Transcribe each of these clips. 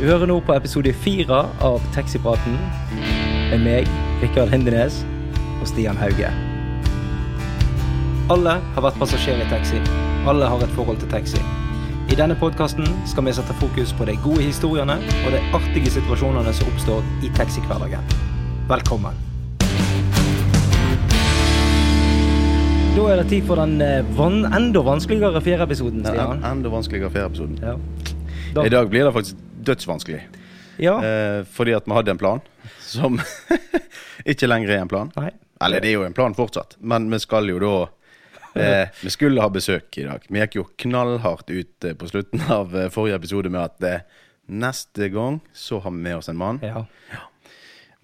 Du hører nå på episode fire av Taxipraten med meg, Rikard Hindenes og Stian Hauge. Alle har vært passasjer i taxi. Alle har et forhold til taxi. I denne podkasten skal vi sette fokus på de gode historiene og de artige situasjonene som oppstår i taxihverdagen. Velkommen. Da er det tid for den eh, van enda vanskeligere fjerde episoden, Stian. En- Enda vanskeligere ferieepisoden. Ja. I dag blir det faktisk dødsvanskelig. Ja. Eh, fordi at vi hadde en plan som ikke lenger er en plan. Nei. Eller det er jo en plan fortsatt, men vi skal jo da eh, Vi skulle ha besøk i dag. Vi gikk jo knallhardt ut eh, på slutten av eh, forrige episode med at eh, neste gang så har vi med oss en mann. ja.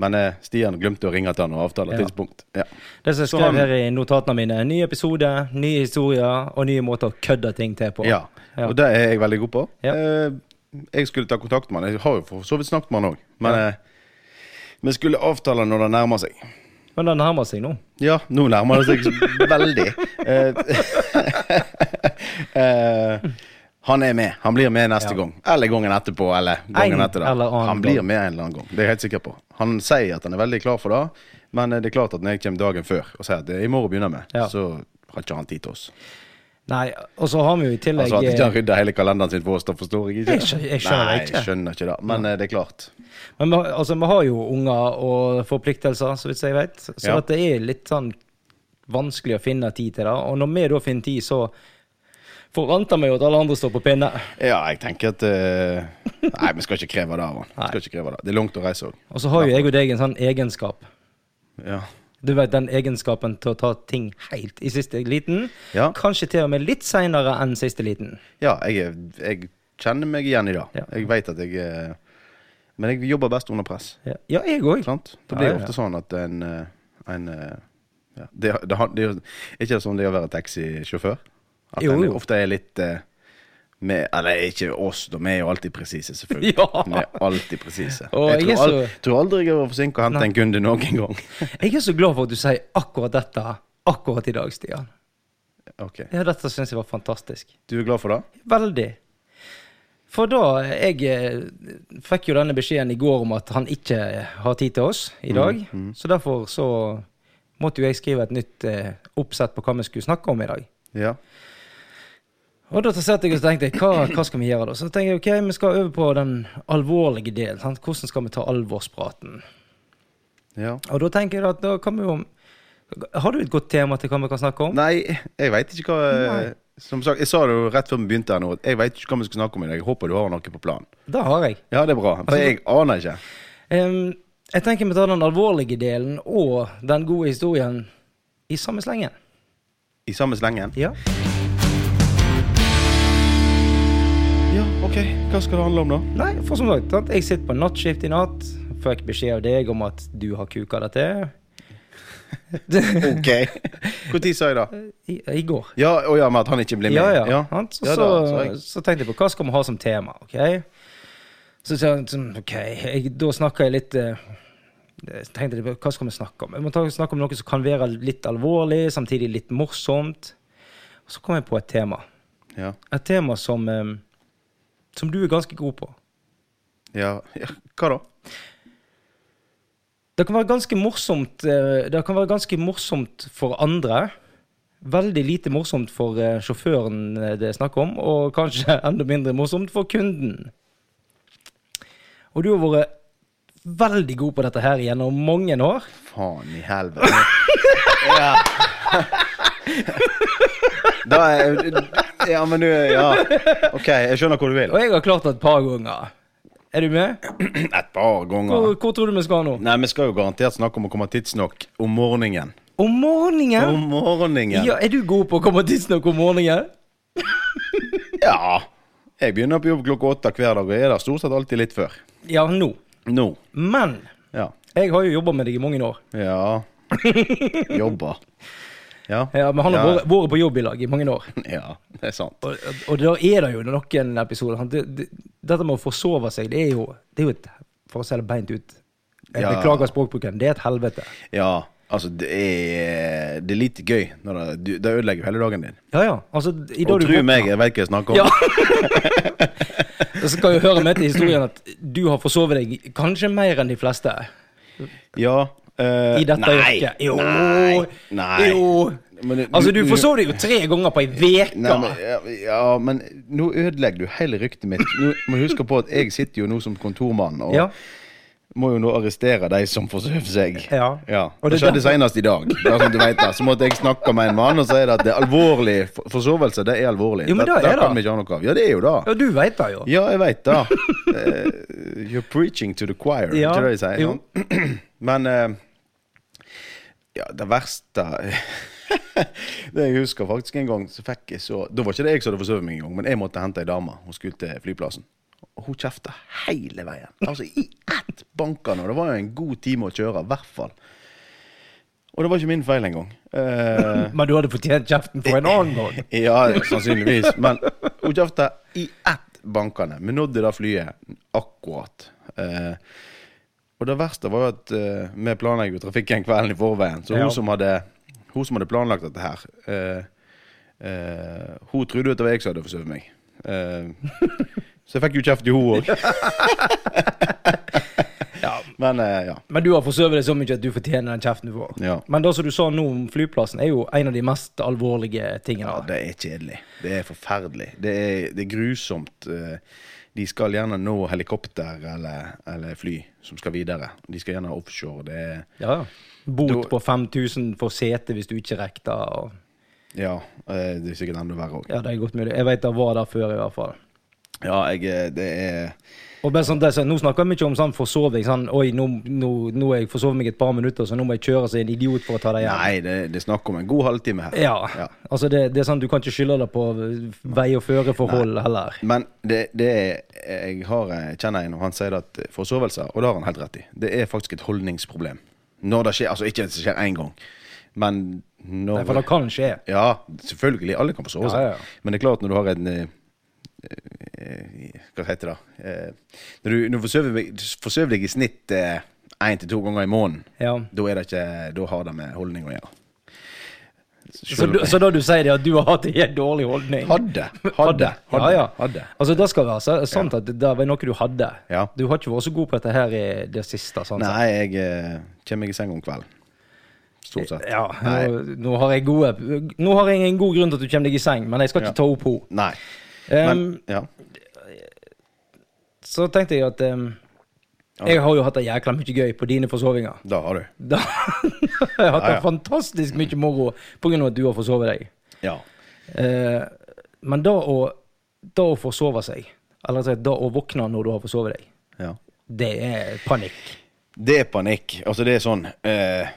Men eh, Stian glemte å ringe til han og avtale Ja. tidspunkt. Ja. Det som jeg Så skrev han- her i notatene mine, ny episode, nye historier og nye måter å kødde ting til på. Ja. Ja. og det er jeg veldig god på. Ja. Eh, jeg skulle ta kontakt med han. Jeg har jo for så vidt snakket med han òg. Men eh, vi skulle avtale når det nærmer seg. Men den nærmer seg nå. Ja, nå nærmer det seg veldig. Eh, eh, han er med. Han blir med neste Ja. gang. Eller gangen etterpå. Eller En gangen etter det. eller annen Han blir med en eller annen gang. Det er jeg helt sikker på. Han sier at han er veldig klar for det, men eh, det er klart at når jeg kommer dagen før og sier at det er i morgen begynner med, Ja. så har ikke han tid til oss. Nei, og så har vi jo i tillegg Altså At ikke han rydder hele kalenderen sin for oss, da forstår jeg ikke. eh, Jeg skjø- jeg skjønner Nei, ikke. jeg skjønner ikke det. Men eh, det er klart. Men vi, har- altså, vi har jo unger og forpliktelser, så vidt jeg vet. Så Ja. at det er litt sånn vanskelig å finne tid til det. Og når vi da finner tid, så forventer vi jo at alle andre står på pinne. Ja, jeg tenker at eh, Nei, vi skal ikke kreve det av han. Vi Nei. Skal ikke kreve det. Det er langt å reise òg. Og så har jo jeg og deg en sånn egenskap. Ja. Du vet den egenskapen til å ta ting helt i siste liten. Ja. Kanskje til og med litt seinere enn siste liten. ja, jeg, er- jeg kjenner meg igjen i det. Ja. Jeg veit at jeg eh, Men jeg jobber best under press. Ja, ja jeg òg. Sant? Det Ja, blir ja, ja. ofte sånn at en, eh, en eh, ja. det, det, har- det er jo ikke sånn det er å være taxisjåfør. At Jo, en jo. ofte er litt eh, med, Eller ikke oss, da. Vi er jo alltid presise, selvfølgelig. Ja. Vi er alltid presise. Og Jeg jeg er tror, al- så- tror aldri jeg har vært forsinka og hente en kunde noen gang. Jeg er så glad for at du sier akkurat dette akkurat i dag, Stian. Ok, Ja, dette syns jeg var fantastisk. Du er glad for det? Veldig. For da Jeg eh, fikk jo denne beskjeden i går om at han ikke har tid til oss i dag. Så derfor så måtte jo jeg skrive et nytt eh, oppsett på hva vi skulle snakke om i dag. Ja. Og da satt jeg og tenkte jeg, hva, hva skal vi gjøre da? Så tenkte jeg ok, vi skal over på den alvorlige delen. Sant? Hvordan skal vi ta alvorspraten? ja. Og da tenker jeg at da kan vi jo Har du et godt tema til hva vi kan snakke om? Nei, jeg veit ikke hva eh, Som sagt, jeg sa det jo rett før vi begynte her nå, at jeg veit ikke hva vi skal snakke om i dag. Jeg håper du har noe på planen. Det har jeg. Ja, det er bra. Altså, For jeg aner ikke. Ehm, jeg tenker vi tar den alvorlige delen og den gode historien i samme slengen. I samme slengen. Ja. Ja, OK. Hva skal det handle om, da? Nei, for som sagt, sant? jeg sitter på nattskift i natt. Fikk beskjed av deg om at du har kuka det til. OK. Når sa jeg det? I, I går. Ja, å ja, med at han ikke blir med. Ja, ja. ja. sant? Så, Ja da, så så, jeg, så tenkte jeg på hva skal vi ha som tema, ok? Så sa jeg sånn, ok, jeg, da snakka jeg litt eh, Så tenkte jeg på hva skal vi snakke om? Vi må ta, snakke om noe som kan være litt alvorlig, samtidig litt morsomt. Og så kom jeg på et tema. ja, Et tema som eh, Som du er ganske god på. ja, ja. Hva da? Det kan være ganske morsomt eh, Det kan være ganske morsomt for andre. Veldig lite morsomt for eh, sjåføren eh, det er snakk om, og kanskje enda mindre morsomt for kunden. Og du har vært veldig god på dette her gjennom mange år. Faen i helvete. ja. Da er Ja, men du Ja. OK, jeg skjønner hvor du vil. Og jeg har klart det et par ganger. Er du med? Et par ganger. Hvor, hvor tror du vi skal nå? Nei, vi skal jo garantert snakke om å komme tidsnok om morgenen. Om morgenen? Om morgenen. Ja, er du god på å komme tidsnok om morgenen? Ja. Jeg begynner på jobb klokka åtte hver dag, og jeg er der stort sett alltid litt før. Ja, nå. Nå. Men Ja. jeg har jo jobba med deg i mange år. Ja. Jobber. Ja. Ja, men han har Ja. vært- vært på jobb i lag i mange år. Ja, det er sant. Og, og da er det jo noen episoder han- det, det, Dette med å forsove seg, det er jo, det er jo et For å si det beint ut. Jeg Ja. beklager språkbruken. Det er et helvete. Ja, altså, det er, det er lite gøy. Når det, du- det ødelegger jo hele dagen din. Ja, ja. Altså, i dag Og du tro våk- meg, jeg vet hva jeg snakker om. Ja. Det skal jo høre med til historien at du har forsovet deg kanskje mer enn de fleste Ja. eh, i dette nei, yrket. Jo. Nei. nei. Jo. Men det- Altså, du forsov deg jo tre ganger på ei Nei, uke. men, ja, ja, men nå ødelegger du hele ryktet mitt. Nå må du huske på at jeg sitter jo nå som kontormann, og Ja. må jo nå arrestere de som forsøver seg. Ja. Og Det det er skjedde senest i dag. Bare som du vet det. Så måtte jeg snakke med en mann, og så er det at det er alvorlig. For- Forsovelse, det er alvorlig. Jo, men Det- det er det kan det. vi ikke ha noe av. Ja, det er jo det. Ja, du veit det jo. Ja, jeg veit det. Eh, you're preaching to the choir, Ja, ikke det de sier? jo. nå? Men eh, ja, det verste Det jeg husker faktisk en gang så fikk jeg så Da var ikke det jeg som hadde forsovet meg en gang, men jeg måtte hente ei dame. Hun skulle til flyplassen. Og hun kjefta hele veien. Altså i ett bankende. Og det var jo en god time å kjøre, i hvert fall. Og det var ikke min feil engang. Eh, Men du hadde fortjent kjeften for en annen gang. ja, sannsynligvis. Men hun kjefta i ett bankende. Vi nådde det flyet akkurat. Eh, og det verste var jo at eh, vi planlegger jo trafikken kvelden i forveien. Så hun, Ja. som, hadde, hun som hadde planlagt dette her, eh, eh, hun trodde jo at det var jeg som hadde forsovet meg. Eh, så jeg fikk jo kjeft i hun òg. Men eh, ja. Men du har forsøvet deg så mye at du fortjener den kjeften du får. Ja. Men det som du sa nå om flyplassen, er jo en av de mest alvorlige Ja, tingene. det er kjedelig. Det er forferdelig. Det er, det er grusomt. Eh, De skal gjerne nå helikopter eller, eller fly som skal videre. De skal gjerne offshore. Det er Ja. Bot Da- på 5000 for sete hvis du ikke rekker det. og- Ja, eh, det er sikkert enda verre òg. Ja, det er godt mulig. Jeg veit det var der før, i hvert fall. Ja, jeg eh, Det er Og bare sånn, det, er sånn, nå snakker vi ikke om sånn forsoving. Sånn, Oi, nå, nå, nå har jeg forsovet meg et par minutter, så nå må jeg kjøre som en idiot for å ta deg igjen. Nei, det, det er snakk om en god halvtime her. Ja. Ja. Altså, det, det er sånn, du kan ikke skylde det på vei- og føreforhold heller. Men det, det er Jeg har, eh, kjenner en, og han sier at eh, forsovelser Og det har han helt rett i. Det er faktisk et holdningsproblem. Når det skjer. Altså ikke at det skjer én gang, men når Nei, for det kan skje. Ja, selvfølgelig. Alle kan forsove seg. Ja, ja, ja. Men det er klart, når du har en eh, eh, Hva heter det? Eh, når du, når du forsøver, deg- du forsøver deg i snitt én til to ganger i måneden, Ja. da, er det ikke, da har det med holdning å gjøre. Så, du- så da du sier det, at du har hatt en helt dårlig holdning? Hadde. Hadde. Ja, hadde, ja. hadde. Altså, det skal være så- sant at det var noe du hadde. Ja. Du har ikke vært så god på dette her i det siste. sånn sett. Nei, jeg eh, kommer meg i seng om kvelden. Stort sett. Ja, Nei. nå, nå, har jeg gode, nå har jeg en god grunn til at du kommer deg i seng, men jeg skal ikke ta opp henne. Nei. Men, Ehm, ja. så tenkte jeg at ehm, Ja. Jeg har jo hatt det jækla mye gøy på dine forsovinger. Da har du. Da, jeg har hatt Ja, det ja. fantastisk mye moro pga. at du har forsovet deg. Ja. Eh, men da å, da å forsove seg, eller altså, da å våkne når du har forsovet deg, ja. det er panikk. Det er panikk. Altså, det er sånn eh,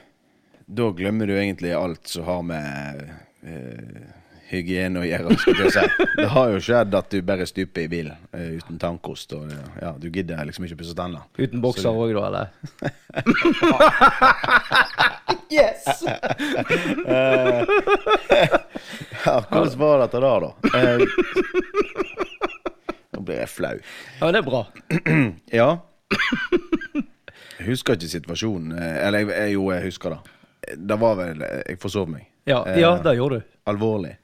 Da glemmer du egentlig alt som har med eh, hygiene å gjøre. Skal jeg si. Det har jo skjedd at du bare stuper i bilen eh, uten tannkost. Og, eh, ja, du gidder liksom ikke å pusse tennene. Uten bokser òg, da, eller? Ja, hvordan var dette der, da? Eh, nå blir jeg flau. Ja, det er bra. Ja. Jeg husker ikke situasjonen. eh, Eller jeg, jeg, jo, jeg husker det. Det var vel eh, Jeg forsov meg. Ja, Eh, ja det gjorde du. alvorlig.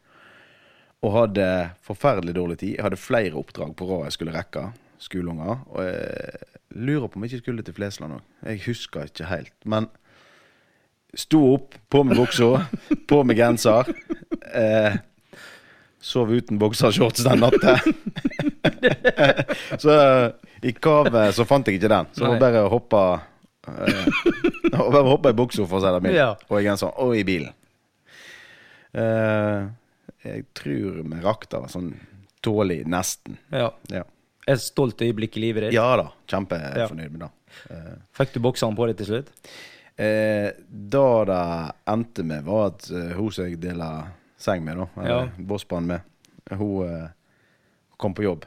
Og hadde forferdelig dårlig tid. Jeg hadde flere oppdrag på rad jeg skulle rekke. Skoleunger. Og jeg lurer på om jeg ikke skulle til Flesland òg. Jeg husker ikke helt. Men sto opp, på med buksa, på med genser. Eh, sov uten boksershorts den natta. så eh, i kavet så fant jeg ikke den. Så det var Nei. bare å hoppe eh, og bare hoppe i buksa, for å si det mildt. Ja. Og i genseren. Og sånn, i bilen. Eh, jeg tror vi rakk det sånn tålig, nesten. Ja. Ja, Et stolt øyeblikk i livet ditt. ja da. Kjempefornøyd med det. Eh, Fikk du bokseren på deg til slutt? Eh, da det endte med, var at eh, hun som jeg deler seng med, da, eller Ja. bossband med, hun eh, kom på jobb.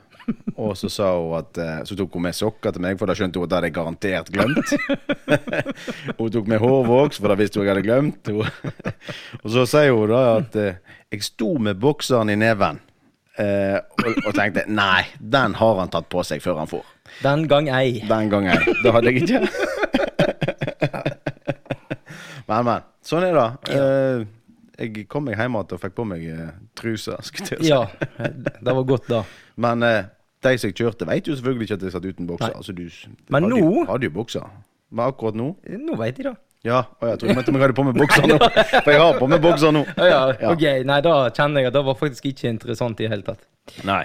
Og så sa hun at eh, Så tok hun med sokker til meg, for da skjønte hun at det hadde jeg garantert glemt. hun tok med hårvoks, for da visste hun jeg hadde glemt. Hun- og så sier hun da at eh, jeg sto med bokseren i neven. Eh, og, og tenkte nei, den har han tatt på seg før han får. Den gang ei. Den gangen. Det hadde jeg ikke. men, men. Sånn er det. Eh, jeg kom eh, meg hjem igjen og fikk på meg uh, truser. skulle jeg til å si. Ja, det var godt, da. Men eh, De som jeg kjørte, vet jo selvfølgelig ikke at jeg satt uten bokser. Nei. Altså, du Men hadde, nå- jo- Hadde jo bokser. Men akkurat nå Nå veit de det. Ja. Å, jeg tror jeg mente om jeg hadde på meg bokser nå. For jeg har på meg bokser nå. Ja, ja. Ok, nei, da kjenner jeg at det var faktisk ikke interessant i det hele tatt. Nei.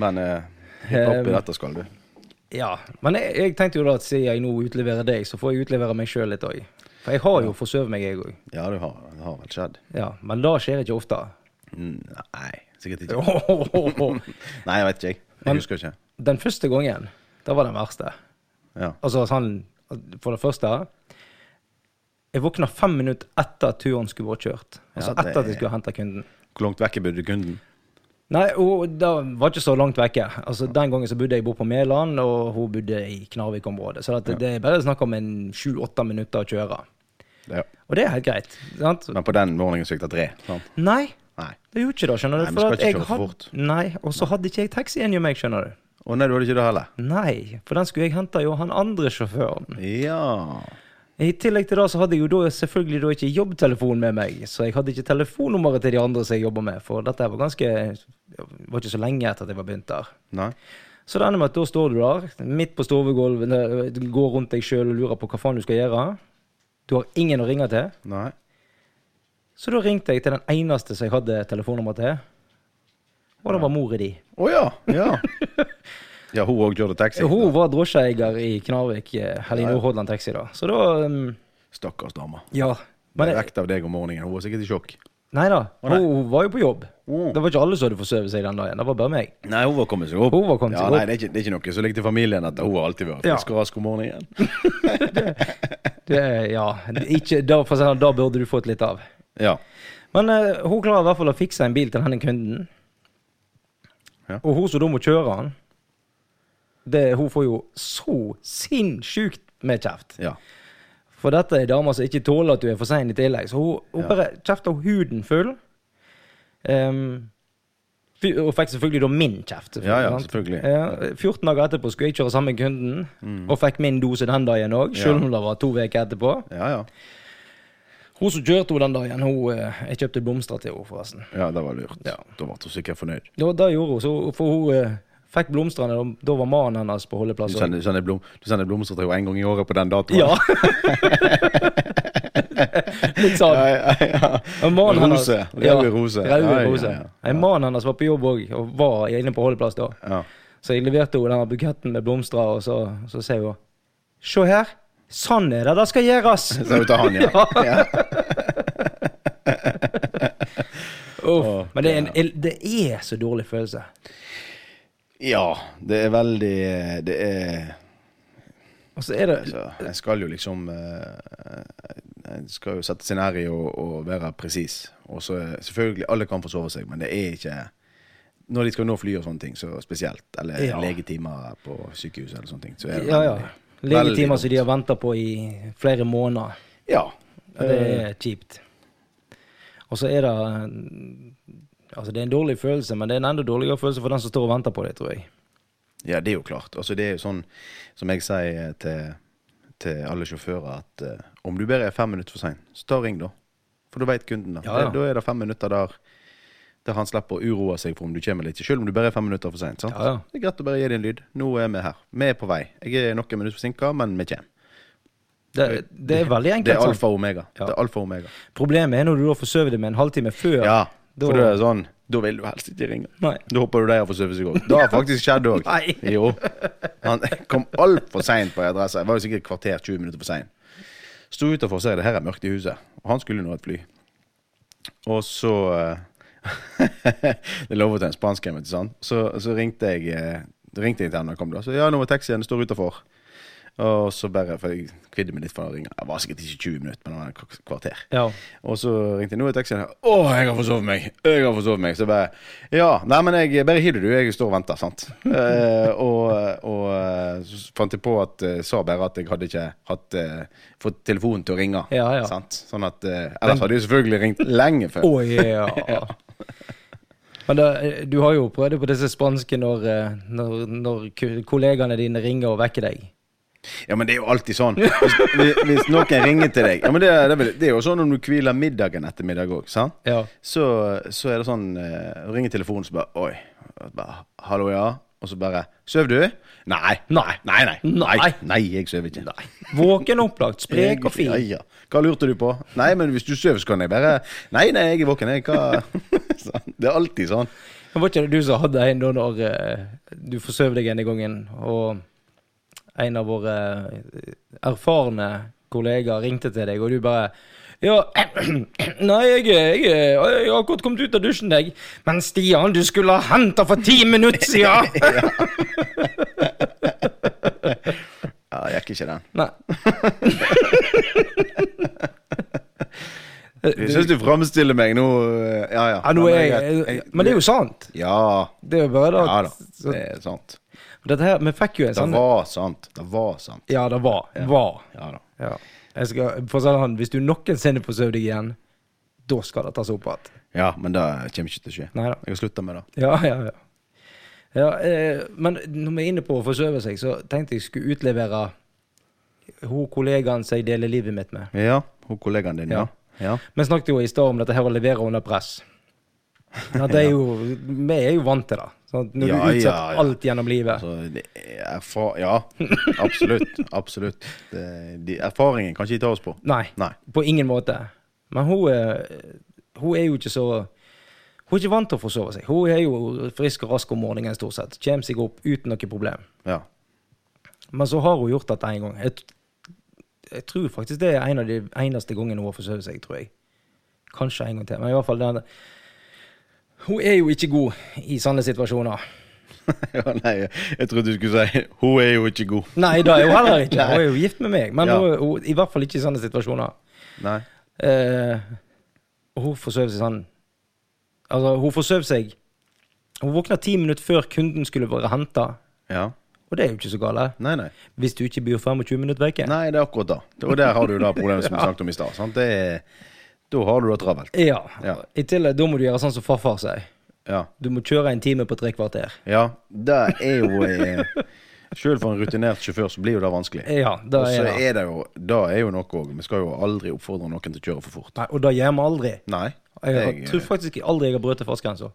Men eh, hiphop i Eh, dette skal du. Ja, men jeg, jeg tenkte jo da at siden jeg nå utleverer deg, så får jeg utlevere meg sjøl litt òg. For jeg har jo forsøvet meg, jeg òg. Ja, det har, det har vel skjedd. Ja, men det skjer ikke ofte. Mm, Nei, sikkert ikke. Den Nei, jeg vet ikke, jeg. Men- Jeg husker ikke. første gangen, det var den verste. Ja. Altså sånn, for det første Jeg våkna fem minutter etter at turen skulle vært kjørt. Altså Ja, det- etter at jeg skulle hente kunden. Hvor langt vekk bodde kunden? Nei, hun da var ikke så langt vekke. Altså, Den gangen så bodde jeg borte på Mæland, og hun bodde i Knarvik-området. Så at, det er bare snakk om en sju-åtte minutter å kjøre. Ja. Og det er helt greit. sant? Men på den morgenen så gikk det tre. Sant? Nei, Nei. det gjorde ikke det, skjønner du. Nei, vi for skal at ikke jeg kjøre for hadde- fort. Nei, Og så hadde ikke jeg taxien hjemme, jeg, skjønner du. Å nei, du hadde ikke det heller? Nei, for den skulle jeg hente jo han andre sjåføren. Ja. I tillegg til det så hadde jeg jo da selvfølgelig da ikke jobbtelefon med meg, så jeg hadde ikke telefonnummeret til de andre som jeg jobber med, for dette her var ganske det var ikke så lenge etter at jeg var begynt der. Nei. Så det ender med at da står du der, midt på stovegulvet, eh, du går rundt deg sjøl og lurer på hva faen du skal gjøre. Du har ingen å ringe til. Nei. Så da ringte jeg til den eneste som jeg hadde telefonnummer til, og det var mora di. Å ja. Ja. ja, hun òg kjørte taxi. Hun var drosjeeier i Knarvik, eh, eller i Nordhordland Taxi, da. Så da um, Stakkars dame. Ja. Ble Men vekt av deg om morgenen. Hun var sikkert i sjokk. Nei da, nei. hun var jo på jobb. Mm. Det var ikke alle som hadde forsovet seg den dagen, det var bare meg. Nei, hun var kommet seg opp. Hun var kommet ja, seg nei, opp. det, er ikke, det er ikke noe som ligger til familien at hun har alltid vært Ja. frisk og rask om morgenen. Det, ja, det- ikke, da, for å si det, sånn, da burde du fått litt av. Ja. Men eh, hun klarer i hvert fall å fikse en bil til denne kunden. Ja. Og hun som da må kjøre han, det, hun får jo så sinnssykt med kjeft. ja. For dette er damer som ikke tåler at du er for sein i tillegg. Så hun, hun Ja. bare kjefter huden full. Ehm, fy- og fikk selvfølgelig da min kjeft. Ja, ja, sant? selvfølgelig. Mm. Ja, 14 dager etterpå skulle jeg kjøre samme kunden, og fikk min dose den dagen òg, selv om det var to uker etterpå. Ja, ja. Hun som kjørte henne den dagen, hun, eh, jeg kjøpte blomster til henne, forresten. Ja, det var lurt. Ja. Da ble hun sikkert fornøyd. Ja, det gjorde hun, så, for hun eh, fikk blomstene, og da var mannen hennes på Du holdeplass. også. sender, du sender, blom, du sender blomster til henne en gang i året på den datoen? Ja. Litt sånn. Ja, ja, ja. En mann hennes- Rose. Røde rose. Ja, røde Ja, ja, rose. ja, En mann hennes var på jobb òg, og var inne på holdeplass da. Ja. Så jeg leverte henne denne buketten med blomster, og så, så sier hun Se her! Sånn er det det skal gjøres! Så ut av han, ja. ja. Uff. Men det er, en, det er så dårlig følelse. Ja, det er veldig Det er Og så er det altså, En skal jo liksom eh, En skal jo sette sin ære i å, å være presis. Og så er- selvfølgelig, alle kan forsove seg, men det er ikke Når de skal nå fly og sånne ting, så spesielt. Eller Ja. legetimer på sykehus eller sånne ting. Så er det Ja, ja. veldig- Legetimer veldig som de har venta på i flere måneder. Ja. Og det Eh. er kjipt. Og så er det Altså, det er en dårlig følelse, men det er en enda dårligere følelse for den som står og venter på det, tror jeg. Ja, det er jo klart. Altså, det er jo sånn som jeg sier til, til alle sjåfører, at eh, om du bare er fem minutter for sein, så ta og ring, da. For da veit kunden det. Ja, ja. Da- Da er det fem minutter der, der han slipper å uroe seg for om du kommer eller ikke, selv om du bare er fem minutter for sein. sant? Ja, ja. Det er greit å bare gi din lyd. Nå er vi her. Vi er på vei. Jeg er noen minutter forsinka, men vi kommer. Det, det er veldig enkelt. Det er sant? alfa og omega. Ja. Det er alfa og omega. Problemet er når du da forsøver det med en halvtime før. Ja, for Da- det er sånn Da vil du helst ikke ringe. Nei. Da hopper du der og får sove seg òg. Det har faktisk skjedd òg. Nei. Jo. Han kom altfor seint på en adresse. Jeg var jo sikkert et kvarter, 20 minutter for sein. Sto utafor og sa det her er mørkt i huset. Og han skulle nå et fly. Og så eh, Det lovet en spansk en, vet du sant. Så, så ringte jeg eh, ringte jeg til han da han kom. da. Så ja, nå er taxien står utafor. Og så bare, for jeg kvidde meg litt for å ringe. Det var sikkert ikke 20 minutter, men det var et kva- kvarter. Ja. Og så ringte jeg nå er taxien her. Å, jeg har forsovet meg! Jeg har forsovet meg. Så jeg bare Ja, nei, men jeg bare hiv det, du. Jeg står og venter, sant. Eh, og og eh, så fant jeg på at eh, Sa bare at jeg hadde ikke hatt eh, fått telefonen til å ringe. Ja, ja. Sant? Sånn at eh, Ellers hadde jeg selvfølgelig ringt lenge Å før. ja. Men da, du har jo prøvd det på disse spanske når, eh, når, når ku- kollegaene dine ringer og vekker deg. Ja, men det er jo alltid sånn. Hvis, hvis- hvis noen ringer til deg Ja, men det, er- det, er vel- det er jo sånn om du hviler middagen etter middag òg, sant? Ja. så, så er det sånn eh, Ringer telefonen, så bare Oi. Bare, Hallo, ja. Og så bare Søv du? Nei. Nei. Nei, nei. Nei. Nei, jeg søv ikke. Nei. Våken, opplagt, sprek og fin. Ja, ja. Hva lurte du på? Nei, men hvis du søv, så kan jeg bare Nei, nei, jeg er våken, jeg. Hva Sånn. Det er alltid sånn. Men Var ikke det du som hadde en da når eh, du forsøv deg en gang, og en av våre eh, erfarne kollegaer ringte til deg, og du bare ja, nei, jeg, jeg, jeg har akkurat kommet ut av dusjen, jeg. Men Stian, du skulle ha henta for ti minutter siden! Ja, jeg gikk ikke den. Nei. Jeg syns du framstiller meg nå eh, Ja, ja. Ja, nå er Men jeg- jeg, jeg- men det er jo sant. Ja. Det er jo bare det Ja da. at så- Det er sant. Dette her, Vi fikk jo en Det sånn var sant. Det var sant. Ja, det var. Var. Ja da. Ja. Jeg skal, for å si det sånn, hvis du noensinne forsøver deg igjen, da skal det tas opp igjen. Ja, men det kommer ikke til å skje. Nei da. Jeg har slutta med det. Ja, ja, ja. ja eh, men når vi er inne på å forsøve seg, så tenkte jeg skulle utlevere hun kollegaen som jeg deler livet mitt med. Ja, hun kollegaen din, ja. ja. Vi snakket jo i stad om dette her å levere under press. Ja, det er jo, vi er jo vant til det. Sant? Når Ja, du utsetter ja, ja. alt gjennom livet. Altså, det er erfa ja, absolutt. Absolutt. Det, de, erfaringen kan ikke ta oss på. Nei, Nei. på ingen måte. Men hun, eh, hun er jo ikke så Hun er ikke vant til å forsove seg. Hun er jo frisk og rask om morgenen stort sett. Kommer seg opp uten noe problem. Ja. Men så har hun gjort dette en gang. Jeg, jeg tror faktisk det er en av de eneste gangene hun har forsøvet seg, tror jeg. Kanskje en gang til, men i hvert fall den Hun er jo ikke god i sånne situasjoner. ja nei, jeg trodde du skulle si 'hun er jo ikke god'. Nei, det er hun heller ikke. Hun er jo gift med meg, men Ja. hun, hun, i hvert fall ikke i sånne situasjoner. Nei. Eh, og hun forsøv seg sånn Altså, hun forsøv seg Hun våkna ti minutter før kunden skulle være henta, Ja. og det er jo ikke så gale. Nei, nei. Hvis du ikke blir 25 minutter vekke. Nei, det er akkurat det. Og der har du da problemet som vi snakket om i stad. sant? Det er- Da har du det travelt. Ja. Ja. I tillegg, da må du gjøre sånn som farfar sier. Ja. Du må kjøre en time på tre kvarter. ja. Det er jo eh, Sjøl for en rutinert sjåfør så blir jo det vanskelig. Ja, det Og så er det. er det jo Det er jo noe òg. Vi skal jo aldri oppfordre noen til å kjøre for fort. Nei, og det gjør vi aldri. Nei. Jeg, har- Jeg- eh, tror faktisk ikke aldri jeg har brutt fartsgrensa.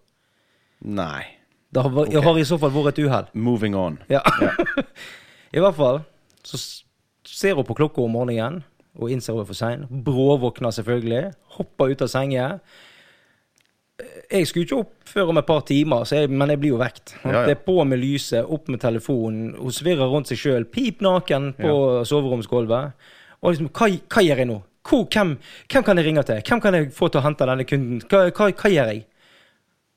Nei. Det har, vært- har i så fall vært et uhell. Moving on. Ja. I hvert fall så s- ser hun på klokka om morgenen og innser hun er for sein. Bråvåkner selvfølgelig. Hopper ut av senga. Jeg skulle ikke opp før om et par timer, så jeg, men jeg blir jo vekt. Ja, ja. Det er på med lyset, opp med telefonen. Hun svirrer rundt seg sjøl, pip naken på soveromsgulvet. Og liksom, hva, hva gjør jeg nå? Hvor, hvem, hvem kan jeg ringe til? Hvem kan jeg få til å hente denne kunden? Hva, hva, hva gjør jeg?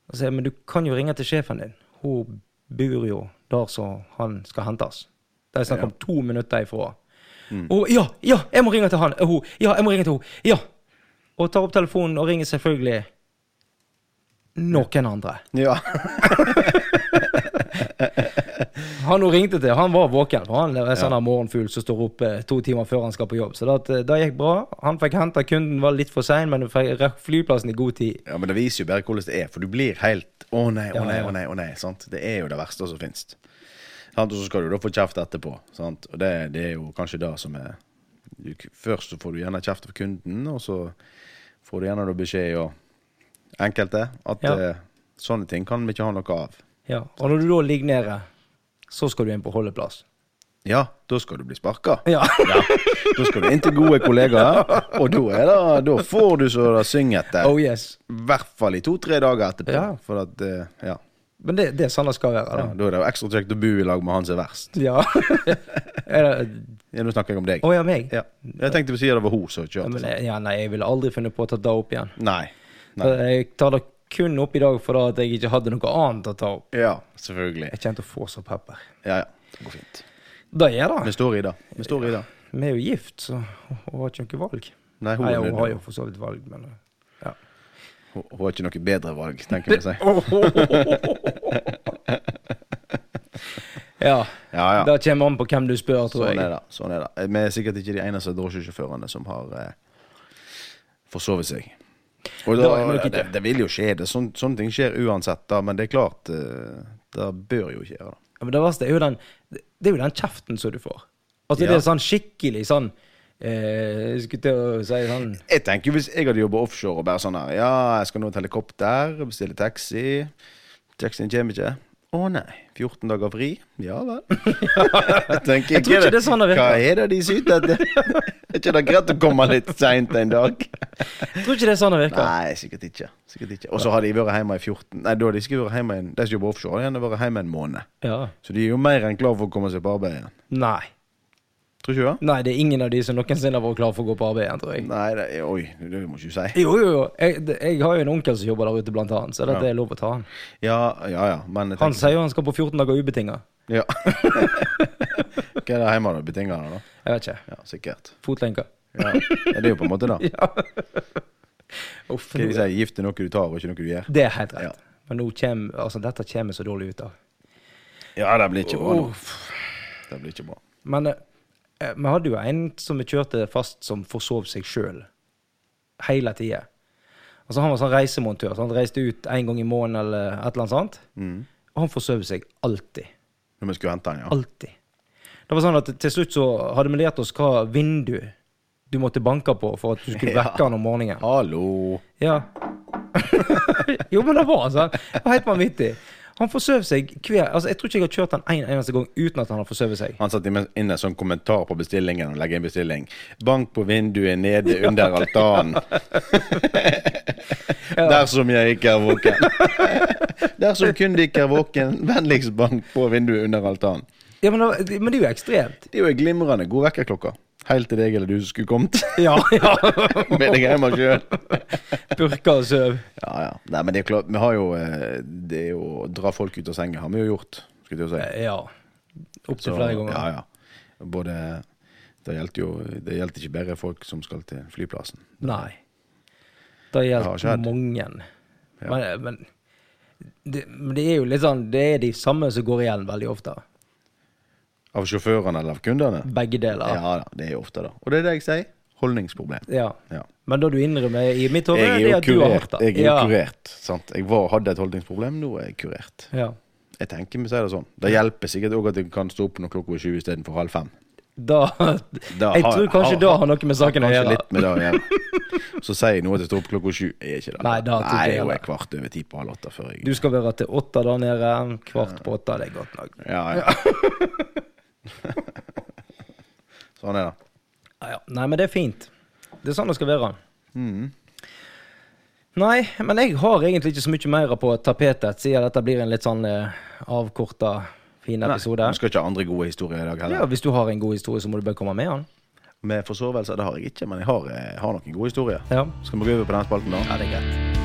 Og så sier jeg, men du kan jo ringe til sjefen din. Hun bor jo der som han skal hentes. Det er snakk om to minutter ifra. Og ja, ja, jeg må ringe til han. Hun, ja, jeg må ringe til hun. Ja. Og tar opp telefonen og ringer selvfølgelig noen andre. Ja. Han hun ringte til, han var våken. For han er sånn ja. morgenfugl som står opp eh, to timer før han skal på jobb. Så det, at, eh, det gikk bra. Han fikk henta kunden, var litt for sein, men fikk rakk flyplassen i god tid. ja, men det viser jo bare hvordan det er, for du blir helt Å nei, å Ja, nei, ja. å nei. å nei, sant? Det er jo det verste som finnes. Sant? Og så skal du da få kjeft etterpå. Sant? Og det, det er jo kanskje det som er du, Først så får du gjerne kjeft av kunden, og så får du gjerne da beskjed og enkelte at Ja. eh, sånne ting kan vi ikke ha noe av. Ja. Og når du da ligger nede, så skal du inn på holdeplass. Ja, da skal du bli sparka. Ja. Ja. Da skal du inn til gode kollegaer, og da, er det, da får du så det synger etter. Oh yes. I hvert fall i to-tre dager etterpå. Ja. For at, eh, ja. Men det, det er sånn det skal være. ja, Da er det jo ekstra kjekt å bo i lag med han som er verst. da. Ja. Er det- Ja, nå snakker jeg om deg. Å ja, meg? Ja. Jeg tenkte å si at det var hun som Ja, men, kjørte. jeg- ja, nei, jeg ville aldri funnet på å ta det opp igjen. Nei. Nei. Jeg tar det kun opp i dag for da at jeg ikke hadde noe annet å ta opp. Ja, selvfølgelig. Jeg kjente å få så pepper. Ja, ja. Det går fint. Det gjør det. Vi står i det. Vi står i det. Vi er jo gift, så hun har ikke noe valg. Nei, hun, Nei, er hun nødt- har jo for så vidt valg, men eh, ja. hun, hun har ikke noe bedre valg, tenker jeg å si. ja. Ja, ja. Det kommer an på hvem du spør, tror Sånn jeg. er det. sånn er det. Vi er sikkert ikke de eneste drosjesjåførene som har eh, forsovet seg. Og Det da, var nok det, ikke. det, vil jo skje. Det, er sånn, sånne ting skjer uansett, da, men det er klart eh, Det bør jo ikke gjøre det. Ja, Men det verste er jo den, det er jo den kjeften som du får. Altså, Ja. det er sånn skikkelig sånn eh, Jeg skulle til å si sånn Jeg tenker jo Hvis jeg hadde jobba offshore og bare sånn her Ja, jeg skal nå et helikopter, bestille taxi Taxien kommer ikke. Å nei. 14 dager fri? Ja vel. Jeg tenker Jeg tror ikke det er sånn det Hva virker. er det de syter etter? er ikke det greit å komme litt seint en dag? Jeg tror ikke det er sånn det virker. Nei, sikkert ikke. Sikkert ikke. Og så har de vært hjemme i 14 Nei, da har de ikke vært hjemme en, de som jobber offshore, de har vært hjemme en måned. Ja. Så de er jo mer enn klar for å komme seg på arbeid igjen. Nei. Tror ikke du det? Nei, det er ingen av de som noensinne har vært klar for å gå på arbeid igjen, tror jeg. Nei, det, oi, det må ikke du si. Jo, jo, jo. Jeg, det- jeg har jo en onkel som jobber der ute, blant annet, så dette Ja. er lov å ta han. Ja, ja, ja, men jeg Han tenker sier jo han skal på 14 dager ubetinga. ja. Hva er det hjemme da? Betinger da? Jeg vet ikke. Ja, sikkert. Fotlenker. Ja. ja, det er jo på en måte det. Ja. Uff. Hva de nå- sier, gift er noe du tar, og ikke noe du gjør. Det er helt rett. Ja. Men nå kjem, altså, dette kommer så dårlig ut av. Ja, det blir ikke bra nå. Uff. Det blir ikke bra. Men eh, eh, vi hadde jo en som vi kjørte fast, som forsov seg sjøl. Hele tida. Altså, han var sånn reisemontør, så han reiste ut en gang i måneden eller et eller annet sånt. Mm. Og han forsov seg alltid. Når vi skulle hente den, ja. Alltid. Det var sånn at til slutt så hadde vi lært oss hva vindu du måtte banke på for at du skulle Ja. vekke han om morgenen. Hallo! Ja. jo, men det var sånn. Det var helt vanvittig. Han forsøv seg hver Altså, jeg tror ikke jeg har kjørt han en eneste gang uten at han har forsøvet seg. Han satt inn inn en sånn kommentar på bestillingen og legger inn bestilling. Bank på vinduet nede under altanen. Dersom jeg ikke er våken. Dersom kunde ikke er våken, vennligst bank på vinduet under altanen. Ja, men, det- men det er jo ekstremt. Det er jo en glimrende god vekkerklokke. Helt til deg eller du som skulle kommet Ja, ja. med deg hjemme sjøl. Burka og søv. Ja, ja. Nei, men det er klart, vi har jo eh, Det er jo å dra folk ut av senga har vi jo gjort, skulle jeg til å si. Ja. Eh, Opptil Så- flere ganger. Ja, ja. Både Det gjaldt jo Det gjaldt ikke bare folk som skal til flyplassen. Nei. Det har gjelder skjedd. mange. Men, men, det, men det er jo litt sånn Det er de samme som går igjen veldig ofte. Av sjåførene eller av kundene? Begge Ja. deler. da, det er jo ofte det. Og det er det jeg sier. Holdningsproblem. Ja. Ja. Men da du innrømmer i mitt hode, Jeg er det er jo at du har hørt kurert. det. Jeg er jo Ja. kurert sant? Jeg var, hadde et holdningsproblem, nå er jeg kurert. Ja. Jeg tenker vi sier det sånn. Det hjelper sikkert òg at jeg kan stå opp når klokka er 20 istedenfor halv fem. Da, Da Jeg har- tror kanskje har- det har noe med saken å Kanskje gjøre. litt med det å gjøre. Så sier jeg noe til å stå opp klokka sju. Jeg er ikke det. Nei, da tror ikke Nei, jeg jeg er heller. kvart over ti på halv åtte før jeg Du skal være til åtte der nede. Kvart på åtte, det er godt nok. Ja, ja. sånn er det. Ja, ja. Nei, men det er fint. Det er sånn det skal være. Mm. Nei, men jeg har egentlig ikke så mye mer på tapetet, siden dette blir en litt sånn eh, avkorta, fin episode. Vi skal ikke ha andre gode historier i dag Ja, heller. hvis du har en god historie, så må du bare komme med den. Med forsovelse det har jeg ikke, men jeg har, jeg har noen gode historier. Ja. Skal vi gå over på den spalten, da? ja, det er greit.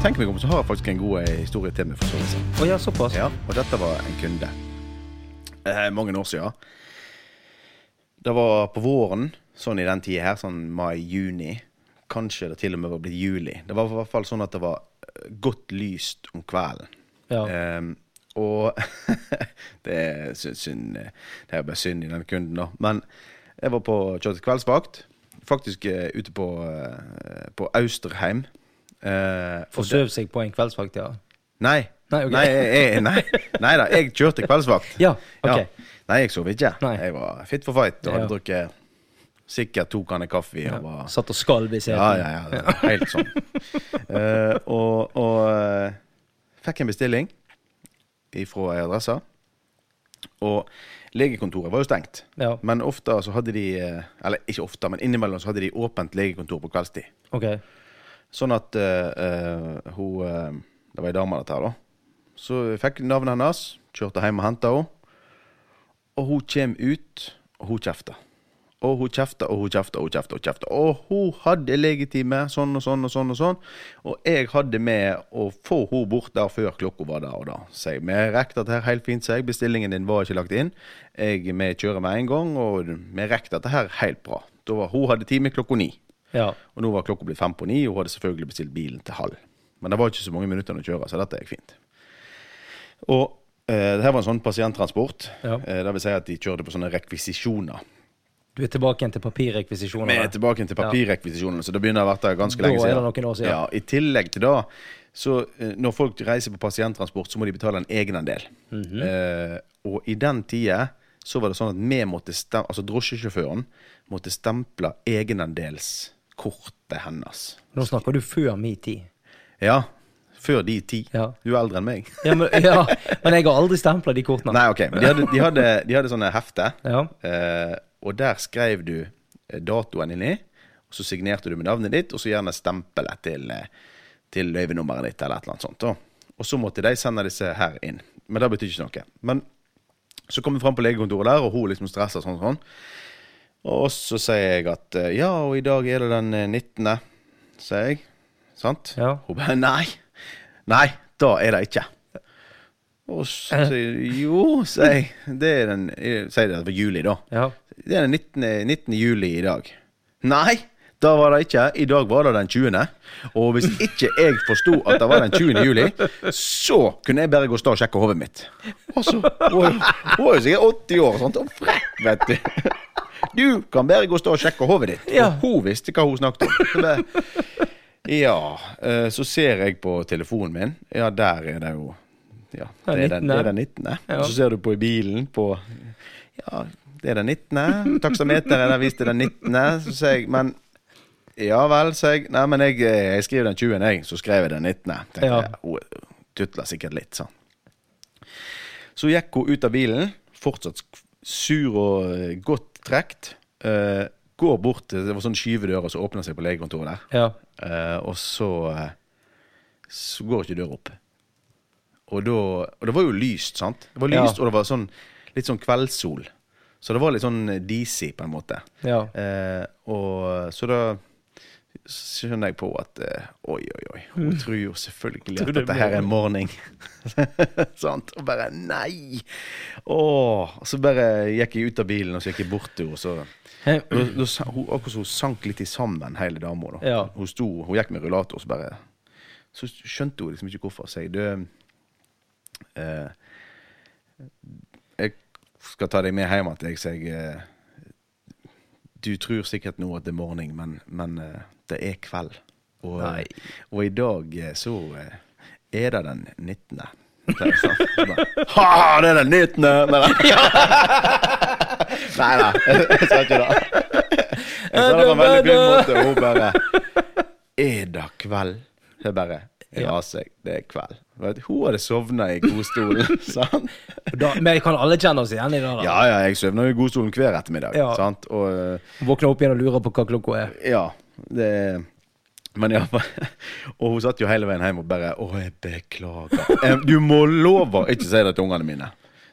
Tenk meg om, så har jeg faktisk en god eh, historie til med forsovelse. Å ja, såpass. Ja, og dette var en kunde. Eh, mange år siden. Det var på våren, sånn i den tida her, sånn mai-juni. Kanskje det til og med var blitt juli. Det var i hvert fall sånn at det var eh, godt lyst om kvelden. Ja. Ehm, og det er sy- synd eh, Det er bare synd i den kunden, da. Men jeg var på kjørte kveldsvakt, faktisk eh, ute på, eh, på Austerheim. Eh, og det- Forsøv seg på en kveldsvakt, ja. Nei. Nei, ok. nei, jeg, jeg- nei, nei da, jeg kjørte kveldsvakt. Ja, ok. Nei, jeg sov ikke. Nei. Jeg var fit for fight og hadde Ja. drukket sikkert to kanner kaffe. Og var Satt og skalv i ja, seten. ja, ja. det var Helt sånn. Eh, og og eh, fikk en bestilling ifra ei adresse. Og legekontoret var jo stengt. Ja. Men ofte så hadde de eh, Eller ikke ofte, men innimellom så hadde de åpent legekontor på kveldstid. Ok. Sånn at eh, eh, hun eh, Det var ei dame, dette her, da. Så jeg fikk navnet hennes, kjørte hjem og henta henne. Og hun kom ut, og hun kjefta. Og hun kjefta og hun kjefta og hun kjefta. Og kjefta. Og hun hadde legetime, sånn og sånn og sånn. Og sånn. Og jeg hadde med å få hun bort der før klokka var der og da. Så jeg, vi rekker dette her helt fint, sier jeg. Bestillingen din var ikke lagt inn. Jeg, vi kjører med en gang, og vi rekker dette her helt bra. Da var, hun hadde time klokka ni. Ja. Og nå var klokka blitt fem på ni, og hun hadde selvfølgelig bestilt bilen til halv. Men det var ikke så mange minuttene å kjøre, så dette gikk fint. Og eh, det her var en sånn pasienttransport. Ja. Eh, det vil si at de kjørte på sånne rekvisisjoner. Du Vi er tilbake igjen til Vi er papirrekvisisjoner. tilbake til papirrekvisisjonene, så det begynner å ha vært der ganske Da lenge er det siden. noen år siden. Ja, I tillegg til det, så eh, når folk reiser på pasienttransport, så må de betale en egenandel. Mhm. eh, og i den tida så var det sånn at vi måtte stem- altså drosjesjåføren måtte stemple egenandelskortet hennes. Nå snakker du før min tid. Ja, før de ti. Ja. Du er eldre enn meg. Ja, men, ja, men jeg har aldri stempla de kortene. Nei, ok. Men de hadde, de hadde, de hadde sånne hefter. Ja. Eh, og der skrev du eh, datoen inni, og så signerte du med navnet ditt, og så gjerne stempelet til, eh, til løyvenummeret ditt, eller et eller annet sånt. da. Og så måtte de sende disse her inn. Men det betyr ikke noe. Men så kom vi fram på legekontoret der, og hun liksom stressa sånn sånn. Og så sier jeg at eh, ja, og i dag er det den eh, 19., sier jeg. Sant? Ja. Hun bare nei. Nei, da er det ikke. Og så sier jo, sier jeg. Det er den eh, Sier det var juli, da. Ja. Det er den 19. 19. juli i dag. Nei, da var det ikke. I dag var det den 20. Og hvis ikke jeg forsto at det var den 20. juli, så kunne jeg bare gå og stå og sjekke hodet mitt. Og så Hun er hun er jo sikkert 80 år og sånt, og frekk, vet du. Du kan bare gå og stå og sjekke hodet ditt. Ja. Og hun visste hva hun snakket om. Så det, ja, eh, så ser jeg på telefonen min. Ja, der er det jo Ja, Ja, det er 19.. den, det er den 19. Ja. Og så ser du på i bilen på Ja, det er den 19. Taksameteret der viste den 19., så sier jeg Men ja vel, sier jeg. Nei, men jeg, eh, jeg skriver den 20., jeg. Så skrev jeg den 19. Tenkte Ja. jeg, hun tutla sikkert litt, sånn. Så gikk hun ut av bilen, fortsatt sk- sur og eh, godt trekt. eh, går bort til Det var sånn skyvedører som åpner seg på legekontoret der. ja. Eh, og så, eh, så går ikke døra opp. Og, da, og det var jo lyst, sant? Det var Ja. lyst, Og det var sånn, litt sånn kveldssol. Så det var litt sånn DC, på en måte. Ja. Eh, og så da skjønner jeg på at eh, oi, oi, oi. Hun tror jo selvfølgelig at Hmm. Tror det dette er her er morning. sant? Og bare nei! Åh, og så bare gikk jeg ut av bilen, og så gikk jeg bort til henne, og så Eh, da, da, sa- hun, akkurat så hun sank litt i sammen, hele dama. da. Ja. Hun, sto, hun gikk med rullator, så bare Så skjønte hun liksom ikke hvorfor. Så jeg, du eh, Jeg skal ta deg med hjem til deg, så jeg eh, Du tror sikkert nå at det er morgen, men, men eh, det er kveld. Og, Nei. og i dag eh, så eh, er det den 19. Så jeg sa, Ha, det er den 19. Nei, nei. Nei da, jeg sa ikke det. Jeg sa det på en veldig fin måte, og hun bare Er det kveld? Jeg bare Ja, seg, det er kveld. Vet du, Hun hadde sovna i godstolen, sant? Da, men kan alle kjenne oss igjen i det? da? Ja ja, jeg sovner jo i godstolen hver ettermiddag, Ja. sant? Og eh, Våkne opp igjen og lure på hva klokka er. ja, det men ja, og hun satt jo hele veien hjem og bare 'Å, jeg beklager. Eh, Du må love å ikke si det til ungene mine.'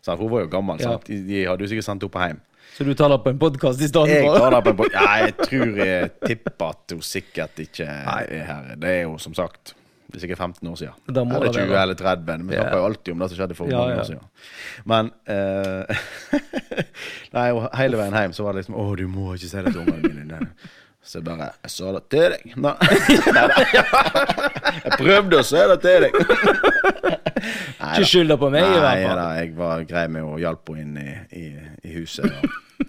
Sant, for hun var jo gammel, Ja. sant? De- de hadde jo sikkert sendt henne hjem. Så du tar det på en podkast i stedet? Jeg for? tar det på en båt. Nei, jeg tror jeg tipper at hun sikkert ikke er her. Det er jo som sagt det er sikkert 15 år siden. Da må eller det 20 være. eller 30. Men vi Ja. snakker jo alltid om det som skjedde for Ja, mange ja. år siden. Men eh, Nei, og hele veien hjem så var det liksom Å, du må ikke si det til ungene mine. Nei. Så jeg bare Jeg sa det til deg. Nei. Neida. Jeg prøvde å si det til deg. Neida. Ikke skylda på meg, i hvert Nei, fall. da, jeg var grei med å hjelpe henne inn i, i, i huset. og-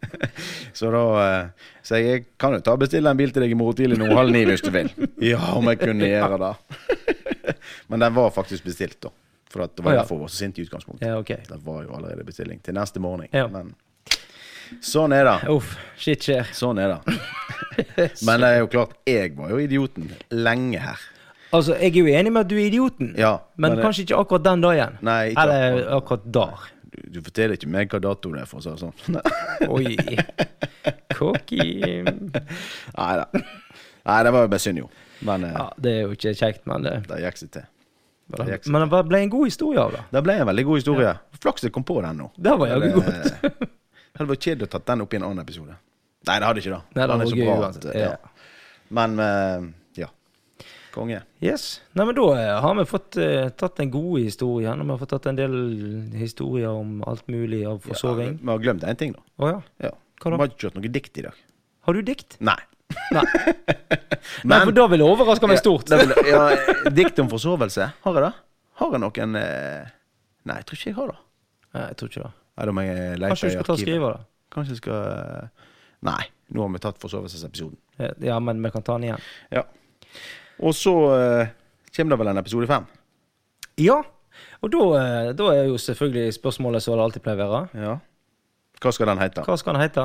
så da eh, Så jeg, jeg kan jo ta og bestille en bil til deg i morgen tidlig nå halv ni hvis du vil. Ja, om jeg kunne gjøre det. Men den var faktisk bestilt, da. For at det Å, var ja. derfor hun var så sint i utgangspunktet. Ja, ok. Det var jo allerede bestilling til neste morgen. Ja. Men sånn er det. Uff, shit skjer. Sånn er det. Men det er jo klart, jeg var jo idioten lenge her. Altså, jeg er jo enig med at du er idioten, Ja, men, men det- kanskje ikke akkurat den dagen. Nei, ikke Eller akkurat der. Du, du forteller ikke meg hva dato det er, for å si det sånn. Oi. Cocky. Nei da. Nei, det var jo bare synd, jo. Men eh, Ja, det er jo ikke kjekt, men det, det gikk seg til. gikk seg men det ble en god historie av det. Det ble en veldig god historie. Flaks jeg kom på den nå. Det var jaggu Det- godt. Det hadde vært kjedelig å tatt den opp i en annen episode. Nei, det hadde ikke det. Nei, det Den er var så gøy bra at, uansett, eh, ja. ja. Men eh, ja. Konge. Yes. Nei, men da eh, har vi fått eh, tatt en god historie. og Vi har fått tatt en del historier om alt mulig av forsoving. Vi har glemt én ting, da. Å ja. Ja. Hva da? Vi har ikke kjørt noe dikt i dag. Har du dikt? Nei. Nei. Nei, for da ville det overraske meg stort. Ja, det vil- ja, eh, dikt om forsovelse. Har jeg det? Har jeg noen eh, Nei, jeg tror ikke jeg har det. Nei, jeg tror ikke det. Nei, da må jeg lete Kanskje du i skal ta og arkivet. skrive det? Kanskje jeg skal eh, Nei, nå har vi tatt forsovelsesepisoden. Eh, Ja, men vi kan ta den igjen. Ja. Og så eh, kommer det vel en episode fem. Ja, og da, eh, da er jo selvfølgelig spørsmålet som det alltid pleier å være. Ja. Hva skal den hete? Hva skal den hete?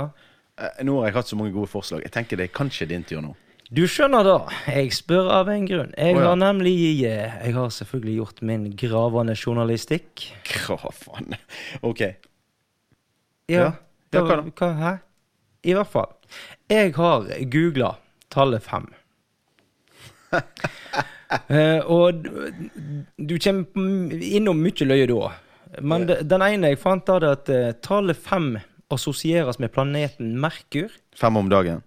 Eh, Nå har jeg hatt så mange gode forslag. Jeg tenker det er kanskje din tur nå. Du skjønner da, jeg spør av en grunn. Jeg Å, ja. har nemlig eh, Jeg har selvfølgelig gjort min gravende journalistikk. Kravan. OK. Ja. Ja, Ja, da, hva da? hva, hæ? I hvert fall. Jeg har googla tallet fem. Eh, og du- du kommer m- innom mye løye da. Men de- den ene jeg fant, da, det at eh, tallet fem assosieres med planeten Merkur. Fem om dagen.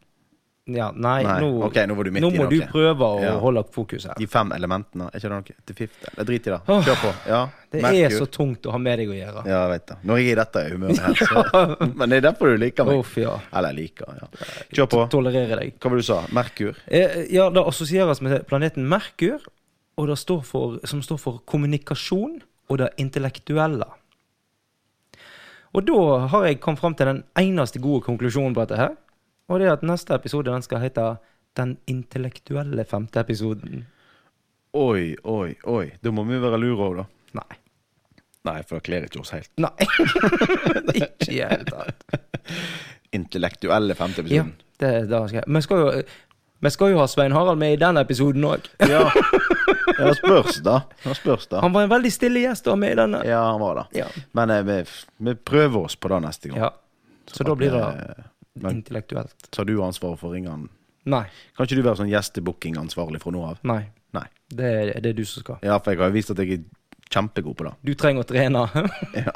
Ja, nei, Nei, nå, ok, nå var du midt nå i må noe. du prøve å Ja. holde fokus her. De fem elementene. Er ikke det noe? Til fifth? Eller drit i det. Kjør på. Ja. Det er Merkur. så tungt å ha med deg å gjøre. Ja, jeg vet det. Når jeg er i dette humøret her, så Men det er derfor du liker meg. Uff, ja. Eller liker, ja. Kjør på. Tolererer deg. Hva var det du sa? Merkur? Eh, Ja, det assosieres med planeten Merkur, og det står for, som står for kommunikasjon og det intellektuelle. Og da har jeg kommet fram til den eneste gode konklusjonen på dette her. Og det er at neste episode den skal hete Den intellektuelle femte episoden. Oi, oi, oi. Da må vi være lure òg, da. Nei. Nei, for det kler ikke oss helt. Nei. Ikke i det hele tatt. Intellektuelle femte Ja, episoden. det, det skal jeg. Vi skal jo, vi skal jo ha Svein Harald med i den episoden òg. Ja. ja, spørs, da. Ja, spørs, da. Han var en veldig stille gjest da med i denne. Ja, han var det. Ja. Men eh, vi, vi prøver oss på det neste gang. Ja. Så da blir det Men intellektuelt. tar du ansvaret for ringene? Nei. Kan ikke du være sånn gjestebooking-ansvarlig fra nå av? Nei. Nei. Det er, det er du som skal. Ja, for jeg har jo vist at jeg er kjempegod på det. Du trenger å trene. Ja.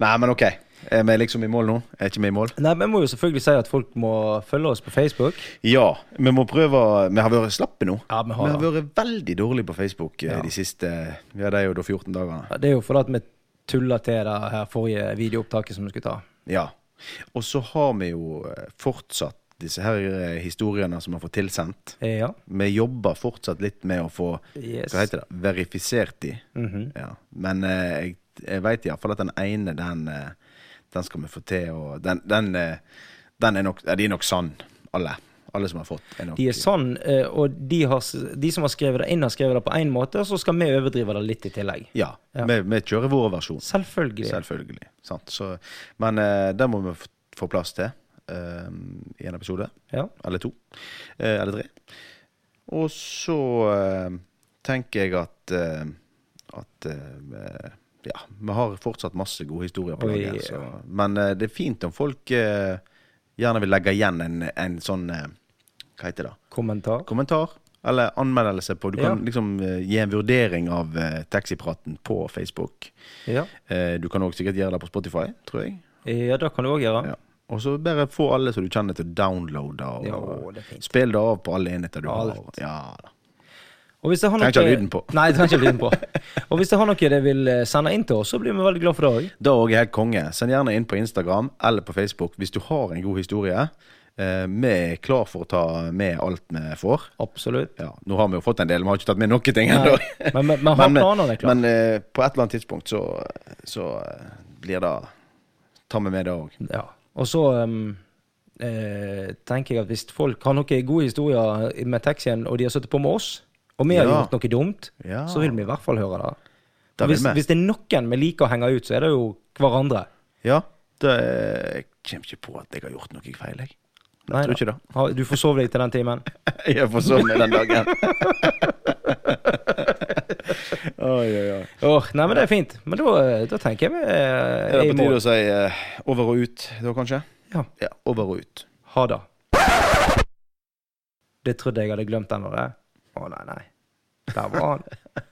Nei, men ok. Er vi liksom i mål nå? Er ikke vi i mål? Nei, men jeg må jo selvfølgelig si at folk må følge oss på Facebook. Ja, vi må prøve Vi har vært slappe nå. Ja, vi har det. vært veldig dårlige på Facebook eh, Ja. de siste Ja, det er jo da 14 dagene. Ja, Det er jo fordi at vi tulla til det her forrige videoopptaket som vi skulle ta. Ja. Og så har vi jo eh, fortsatt disse her eh, historiene som har fått tilsendt. Eh, Ja. Vi jobber fortsatt litt med å få Yes. Mhm. Hva heter det? Verifisert de. ja. Men eh, jeg, jeg veit iallfall at den ene, den, eh, den skal vi få til å Den, den, eh, den er nok ja, De er nok sann, alle. Alle som har fått. Er nok, De er sånn, eh, og de, har, s- de som har skrevet det inn, har skrevet det på én måte, og så skal vi overdrive det litt i tillegg. Ja. Ja. Vi, vi kjører vår versjon, Selvfølgelig. selvfølgelig. Sant? Så, men eh, den må vi f- få plass til eh, i en episode. Ja. Eller to. Eh, eller tre. Og så eh, tenker jeg at eh, at eh, ja, vi har fortsatt masse gode historier på Oi, lager. ja. Så, men eh, det er fint om folk eh, gjerne vil legge igjen en, en sånn eh, Hva heter det? Kommentar. Kommentar. Eller anmeldelse på Du kan Ja. liksom eh, gi en vurdering av eh, taxipraten på Facebook. Ja, Eh, du kan òg sikkert gjøre det på Spotify, tror jeg. Eh, ja det kan du òg gjøre. Ja. Og så bare få alle som du kjenner til å downloade og, Ja, og det er fint. spill det av på alle enheter du har. Alt. Ja, da. Og hvis det har noe... Trenger ikke ha lyden på. Nei, trenger ikke ha lyden på. Og hvis det har noe dere vil eh, sende inn til oss, så blir vi veldig glad for det òg. Da òg er helt konge. Send gjerne inn på Instagram eller på Facebook hvis du har en god historie. Eh, vi er klar for å ta med alt vi får. Absolutt. Ja, nå har vi jo fått en del, vi har ikke tatt med noen ting ennå. Nei, men- men- men har planer, det er klart. Men eh, på et eller annet tidspunkt så, så eh, blir det Tar vi med det òg. Ja. Og så ehm, eh, tenker jeg at hvis folk har noen gode historier med taxien, og de har sittet på med oss, og vi har Ja. gjort noe dumt, Ja. så vil vi i hvert fall høre det. Det vil Hvis, vi. hvis det er noen vi liker å henge ut, så er det jo hverandre. Ja. Det, eh, jeg kommer ikke på at jeg har gjort noe feil, jeg. Jeg Nei da. tror ikke det. Ha- Du forsov deg til den timen. Jeg forsov meg den dagen. oi, oi, oi. Åh, nei, men det er fint. Men da, eh, da tenker jeg vi Er eh, det er i på tide mål. å si eh, over og ut da, kanskje? Ja. Ja, over og ut. Ha det. Det trodde jeg hadde glemt ennå, det. Å, nei, nei. Der var han.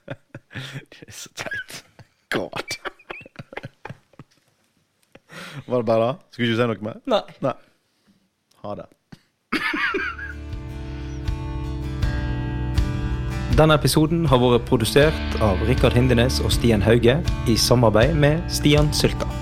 Det er så teit. God. Var det bare det? Skulle ikke si noe mer? Nei. Nei. Ha det. Denne episoden har vært produsert av Rikard Hindenes og Stian Hauge i samarbeid med Stian Sylta.